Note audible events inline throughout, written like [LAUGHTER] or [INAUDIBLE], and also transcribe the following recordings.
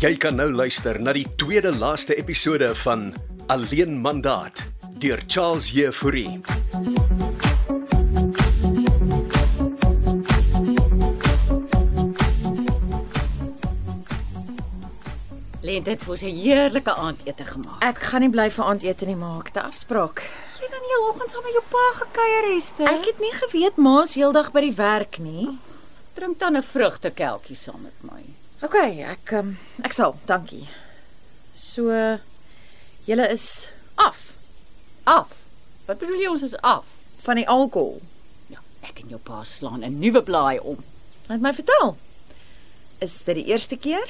Jy kan nou luister na die tweede laaste episode van Alleen Mandaat deur Charles Jefouri. Len dit vir ons 'n heerlike aandete gemaak. Ek gaan nie bly vir aandete nie maak, dit afspraak. Jy dan heel oggend saam met jou pa gekuier Esther. Ek het nie geweet ma's heeldag by die werk nie. drink dan 'n vrugtekelkie saam met my. OK, ek um, ek sal, dankie. So julle is af Af. Wat bedoel jy ons is af? van die alkohol. Ja, ek en jou pa slaan 'n nuwe blaai om. Laat my vertel. Is dit die eerste keer?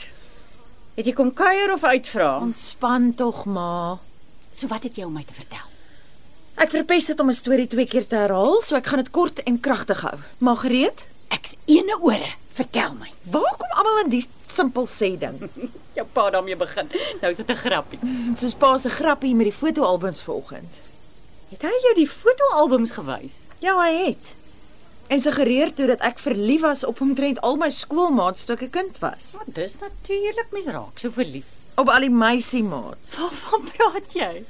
Het jy kom kuier of uitvra? Ontspan tog, ma. So wat het jy om my te vertel? Ek verpes dit om 'n storie twee keer te herhaal, so ek gaan dit kort en kragtig hou. Maar gereed? Ek's ene ore. Vertel my. Waar kom almal aan die simpel sê ding? Jou pa daarmee begin. Nou is dit 'n grappie. Dit is pa se grappie met die fotoalbums vanoggend. Het hy jou die fotoalbums gewys? Ja, hy het. En suggereer toe dat ek verlief was op omtrent al my skoolmaats toe ek 'n kind was. Want dis natuurlik mens raak so verlief. Op al die meisiemaats. Waarvan praat jy?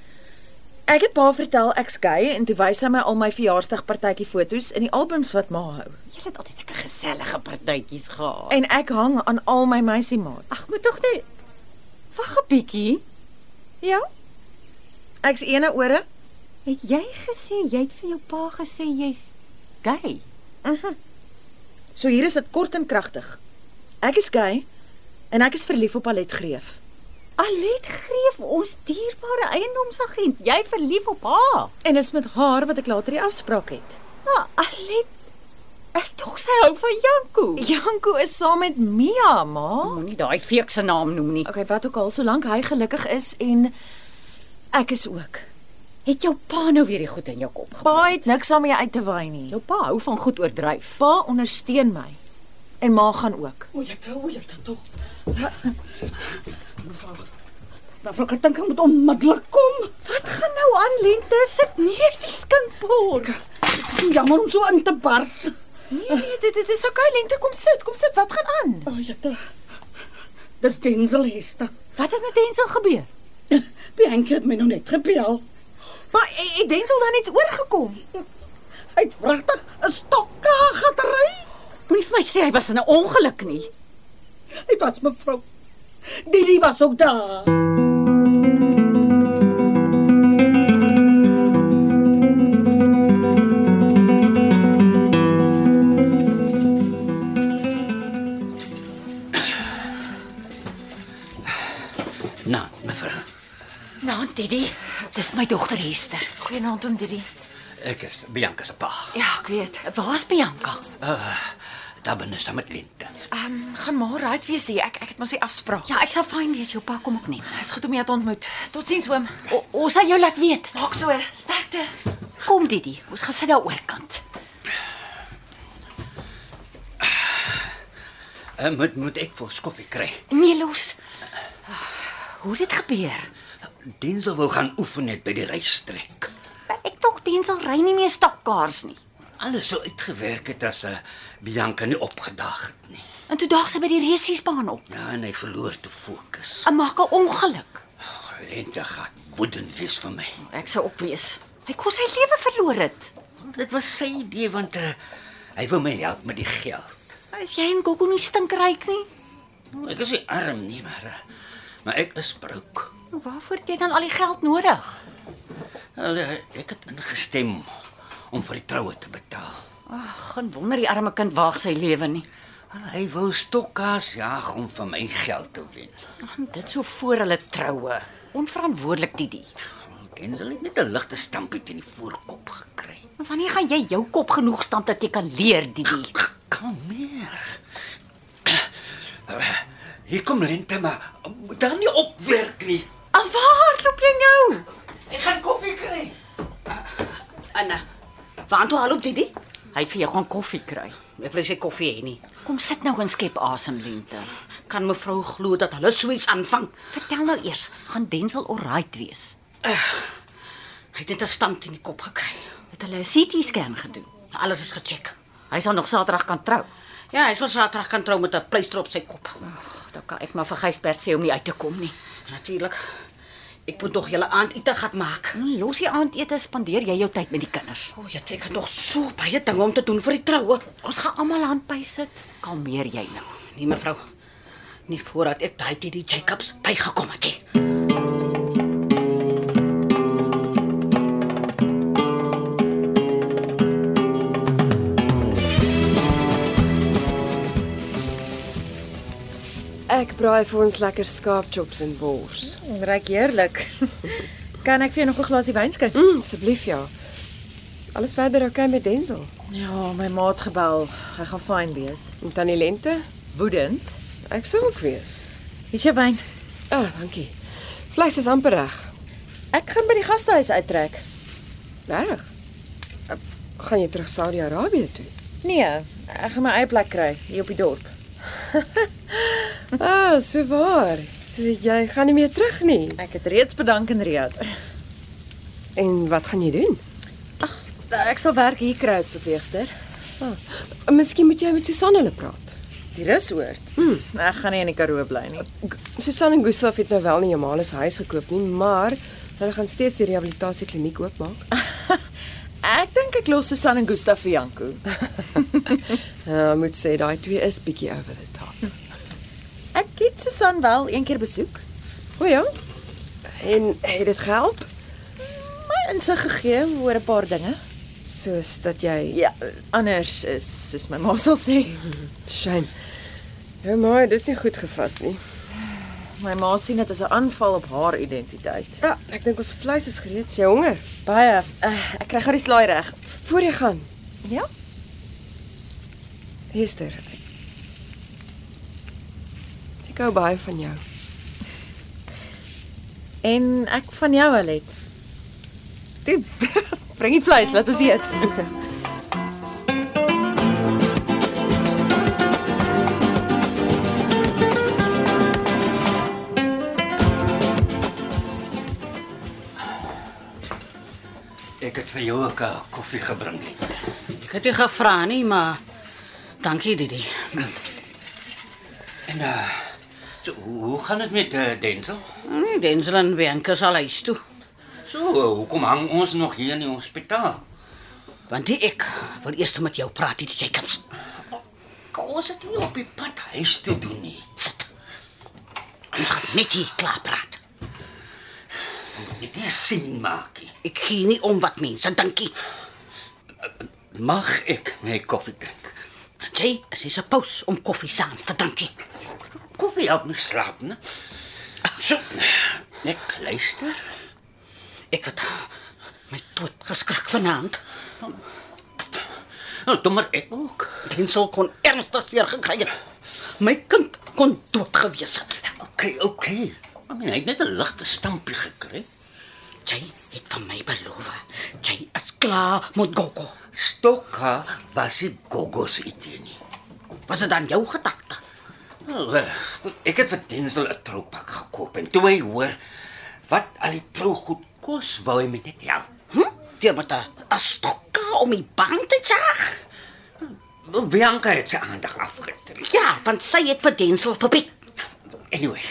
Ek het pa vertel ek's gay en toe wys hy my al my verjaarsdagpartytjie foto's in die albums wat ma hou. Jy het altyd sulke gesellige partytjies gehad. En ek hang aan al my meisiemaats. Ag, moet tog net Wag 'n bietjie. Ja. Ek's ene ore. Het jy gesê jy het vir jou pa gesê jy's gay? So hier is dit kort en kragtig. Ek is gay en ek is verlief op Alet Greef. Alet Greef, ons dierbare eiendomsagent, jy verlief op haar. En dis met haar wat ek later die afspraak het. Ja, Alet. Ek dink sy hou van Janko. Janko is saam met Mia, ma. Ja. Moenie daai feek se naam noem nie. Okay, wat ook al, solank hy gelukkig is en ek is ook. Het jou pa nou weer die goed in jou kop gepa? Pa het niks aan my uit te waai nie. Jou pa hou van goed oordryf. Pa ondersteun my en ma gaan ook. O, jy tel, o, jy tel tog. Mevrou. Mevrou, ek dink ek moet onmiddellik kom. Wat gaan nou aan Lente? Sit neer die skinkbord. Ek is Jammer om so in te bars. Nee, dit dit is okay, Lente, kom sit, kom sit. Wat gaan aan? O, jy tel. Dis Denzel Hester. Wat het met Denzel gebeur? Bianca het my nou net gebel. Maar het Denzel dan iets oorgekom? Hy het wragtig 'n stokke getery. Moenie vir my sê hy was in 'n ongeluk nie. Hy was mevrou. Didi was ook daar. Nou, mevrou, Nou, Didi, dis my dogter Hester. Goeienaand om Didi. ek is Bianca se pa. Ja, ek weet. Waar's Bianca? Uh, daar binne saam met Lente. Ehm, um, gaan maar right wees hier. Ek ek het mos die afspraak. Ja, ek sal fyn wees, jou pa kom ook net. Is goed om jou te ontmoet. Totsiens oom. O, ons sal jou laat weet. Maak so, sterkte. Kom Didi, ons gaan sit daar oorkant. Uh, moet moet ek vir ons koffie kry. Nee, los. Ah, Hoe het dit gebeur? Denzel wou gaan oefen net by die reistrek. Ek tog Denzel ry nie meer stapkaars nie. Alles sou uitgewerk het as uh, Bianca nie opgedag het nie. En toe daag sy by die resiesbaan op. Ja, en hy verloor te fokus. En maak 'n ongeluk. Oh, Lente gaan woedend wees vir my. Ek sou op wees. Hy kon sy lewe verloor het. Dit was sy idee want uh, hy wou my help met die geld. Is jy en Gogo nie stinkryk nie? Nou, Ek is nie arm nie, maar uh, maar ek is broke. Nou, Waarvoor het jy dan al die geld nodig? Wel, eh, ek het ingestem om vir die troue te betaal. Ag, geen wonder die arme kind waag sy lewe nie. Wel, Hy wou stokkas jaag om van my geld te wen. Ag, Dit so voor hulle troue. Onverantwoordelik Didi. Denzel het net 'n ligte stampie teen die voorkop gekry. Maar wanneer gaan jy jou kop genoeg stamp dat jy kan leer, Didi? Kalmeer. Eh, Hier kom Lente maar moet dan nie opwerk nie. Alwaar ah, loop jy nou? Ek gaan koffie kry. Anna. Waartoe haal op Didi? Hy het vir jou gaan koffie kry. Mevrou sê koffie hê nie. Kom sit nou en skep asem lente. Kan mevrou glo dat hulle so iets aanvang? Vertel nou eers, gaan Denzel alright wees? Hy het net 'n stamp in die kop gekry. Het hulle 'n CT scan gedoen? Alles is gecheck. Hy sal nog Saterdag kan trou. Ja, hy sal Saterdag kan trou met 'n pleister op sy kop. Ag, Dan kan ek maar vir Gysbert sê om nie uit te kom nie. Natuurlik. Ek moet nog julle aandete gat maak. Hmm, Los die aandete, spandeer jy jou tyd met die kinders. O, jy trek nog so baie dinge om te doen vir die troue. Ons gaan almal handpy sit. Kalmeer jy nou. Nee mevrou. Nie voordat ek daai tyd die Jacobs bygekom het. nie. Ek braai vir ons lekker skaapchops en wors. Ryk heerlik. kan ek vir jou nog 'n glasie wyn skink? Mm, asseblief ja. Alles verder oukei okay met Denzel. Ja, my ma het gebel. Hy gaan fyn wees. En tannie Lente, Woedend. ek sou ook wees. Hier's jou wyn. Ah, oh, dankie. Vleis is amper reg. Ek gaan by die gastehuis uittrek. Reg. Eh, Gaan jy terug Saudi-Arabië toe? Nee, ek gaan my eie plek kry hier op die dorp. Ah, so waar. So jy gaan nie meer terug nie. Ek het reeds bedank in Riyadh. En wat gaan jy doen? Ek sal werk hier kry as verpleegster. Ah, Miskien moet jy met Susan hulle praat. Die rusoord. Mm. Ek gaan nie in die Karoo bly nie. G- Susan en Gustaf het nou wel nie Jamal se huis gekoop nie, maar hulle gaan steeds die rehabilitasiekliniek oopmaak. Ek dink ek los Susan en Gustaf vir Janko. Ja, uh, moet sê daai twee is bietjie oor die top. Ek het Susan wel een keer besoek, O ja. En het dit gehelp my insig gegee oor 'n paar dinge. soos dat jy Ja, anders is soos my ma sal sê. shame. Ja, maar het dit nie goed gevat nie. My ma sien dit as 'n aanval op haar identiteit. Ja, ek dink ons vleis is gereed. Is Jy honger. Baie. Uh, ek kry gou die slaai reg. Voor jy gaan. Ja? Hester. Ek hou baie van jou. En ek van jou Alet. Toe [LAUGHS] bring die vleis, laat ons eet. Ek het vir jou ook 'n koffie gebring. Ek het nie gevra nie, maar dankie Didi. En uh so, hoe hoe gaan dit met uh, Denzel? Nee, Denzel en Bianca sal huis toe. So, uh, hoekom hang ons nog hier in die hospitaal? Want die ek wil eers met jou praat, die Jacobs. Kan ons dit nie op die pad huis toe doen nie? Sit. Ons gaan net hier klaar praat. Ek nie sien maakie. Ek gee nie om wat mense dink nie. Mag ek my koffie drink? Jy, as jy se pos om koffie saans te drink. nie. Koffie help my slaap, né? So, ek luister. Ek het my dood geskrik vanaand. Nou, doen maar ek ook. Denzel kon ernstig seer gekry het. My kind kon dood gewees het. Okay, okay. Maar hy het net 'n ligte stampie gekry. Jy het van my beloof. Jy is klaar met Gogo. Stokka was die gogo se idee nie. Was dit dan jou gedagte? Wel, eh, Ek het vir Denzel 'n troupak gekoop en toe hy hoor wat al die trougoed kos, wou hy my net help. Hm? Deur met 'n 'n stokka om die bank te jag. Wel, Bianca het sy aandag afgetrek. Ja, want sy het vir Denzel verbied. Anyway,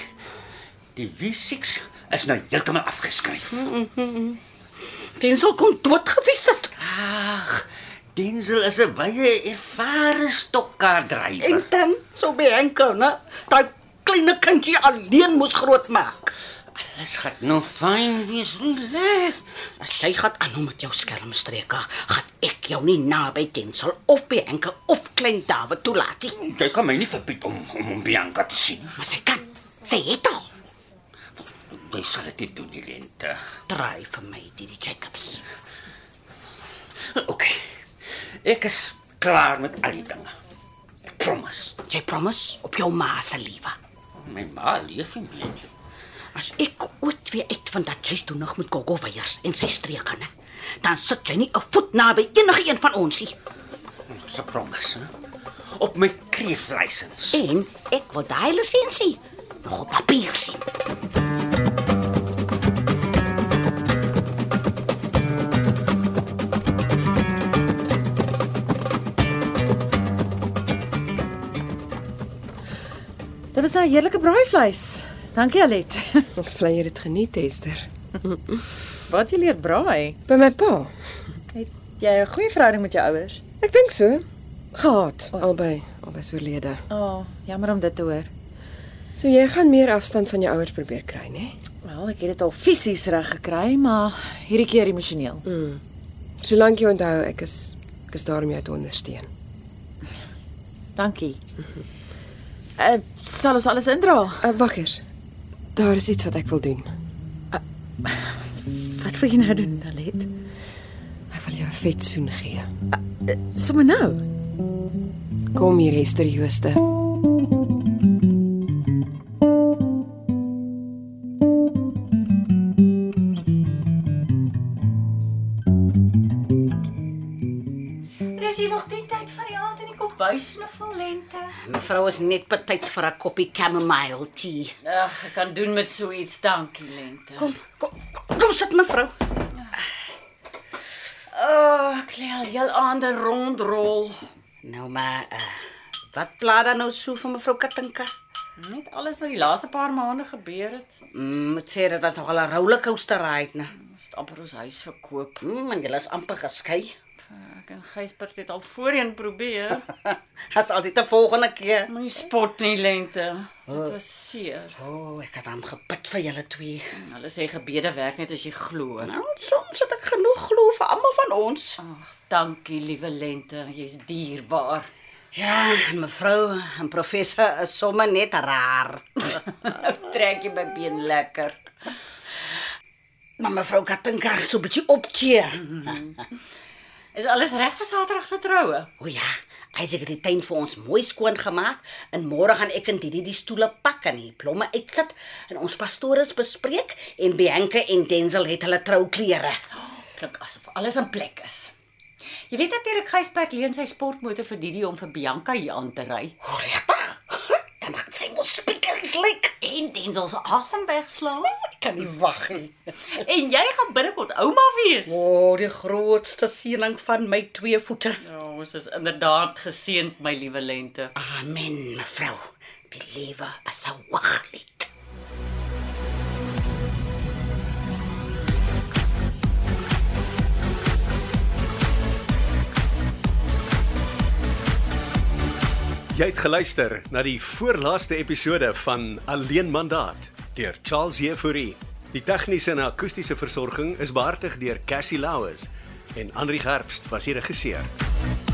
die W6 is nou heeltemal afgeskryf. Denzel kon dood gewees het. Ag, Denzel is 'n baie ervare stokkaar drywer. En dan sou Bianca, né? Daai klein kindjie alleen moes grootmaak. Alles gaan nou fyn wees, relax. As jy gaan aanhou met jou skelmstreke, gaan ek jou nie naby Denzel of Bianca of klein David toelaat nie. Jy kan my nie verbied om om, om Bianca te sien. Maar sy kan. Sy het al. Jy sal dit nie doen, nie, Lente. Draai vir my hierdie Jacobs. OK. Eh, Ek is klaar met al die dinge. Ek promise. Jy promise op jou ma se lewe. My ma leef nie meer nie. As ek ooit weer uit van dat huis toe nog met Gogo weiers en sy streke kan, dan sit jy nie 'n voet naby enige een van ons nie. Dis 'n promise. Hè? Op my kreeflysens. En ek wil daai lisensie nog op papier sien. Dit was 'n heerlike braaivleis. Dankie Alet. [LAUGHS] Ons bly jy dit geniet, Esther. Wat jy leer braai. By my pa. Het jy 'n goeie verhouding met jou ouers? Ek dink so. Gehad albei, albei so lede. O, oh, jammer om dit te hoor. So jy gaan meer afstand van jou ouers probeer kry, né? Wel, ek het dit al fisies reg gekry, maar hierdie keer emosioneel. Solank jy onthou ek is ek is daar om jou te ondersteun. Dankie. Uh, sal ons alles indra? Uh, Wag eers. Daar is iets wat ek wil doen. Wat wil jy nou doen, Alet? Ek wil jou 'n vet soen gee. Sommige nou. Kom hier, Esther Jooste. Dis jy nog die tyd van die aand in die kombuis sniffel lente. Mevrou is net betyds vir 'n koppie chamomile tee. Ag, ek kan doen met so iets. Dankie, Lente. Kom. Kom, kom sit mevrou. Oh, ek lê al heel aande rondrol. Nou maar uh, wat pla dan nou so vir mevrou Katinka? Net alles wat die laaste paar maande gebeur het. Mm, moet sê dit was nogal 'n rollercoaster ride, né? Ons het amper ons huis verkoop. Mm, en julle is amper geskei. [LAUGHS] Ek en Gysbert het al voorheen probeer. As altyd 'n volgende keer. Moenie spot nie, Lente. Dit was seer. O, oh, ek het hom gebid vir julle twee. Hulle sê gebede werk net as jy glo. Nou, soms het ek genoeg glo vir almal van ons. Ag, dankie, liewe Lente. Jy's dierbaar. [LAUGHS] Ja, en mevrou en professor is sommer net raar. Nou Trek jy my been lekker. maar mevrou Katinka is so 'n bietjie opcheer. Is alles reg vir Saterdag se troue? O ja, hy het die tuin vir ons mooi skoon gemaak en môre gaan ek en Didi die stoele pak en die blomme uitsit en ons pastoors bespreek en Bianca en Denzel het hulle trouklere. Klink asof alles in plek is. Jy weet natuurlik Gysbert leen sy sportmotor vir Didi om vir Bianca hier aan te ry. O, Regtig? [LAUGHS] Dan gaan sy mos spiekeries lyk. En Denzel se asem wegslaan. Ek kan nie wag nie. [LAUGHS] En jy gaan binnekort ouma wees. O, Ja, oh, die grootste seëning van my twee voete. oh, ons is inderdaad geseënd, my liewe lente. Amen, mevrou. Die lewe is 'n waaglied. Jy het geluister na die voorlaaste episode van Alleen Mandaat deur Charles Jefouri. Die tegniese en akoestiese versorging is behartig deur Cassie Lauis en Henri Gerst was die regisseur.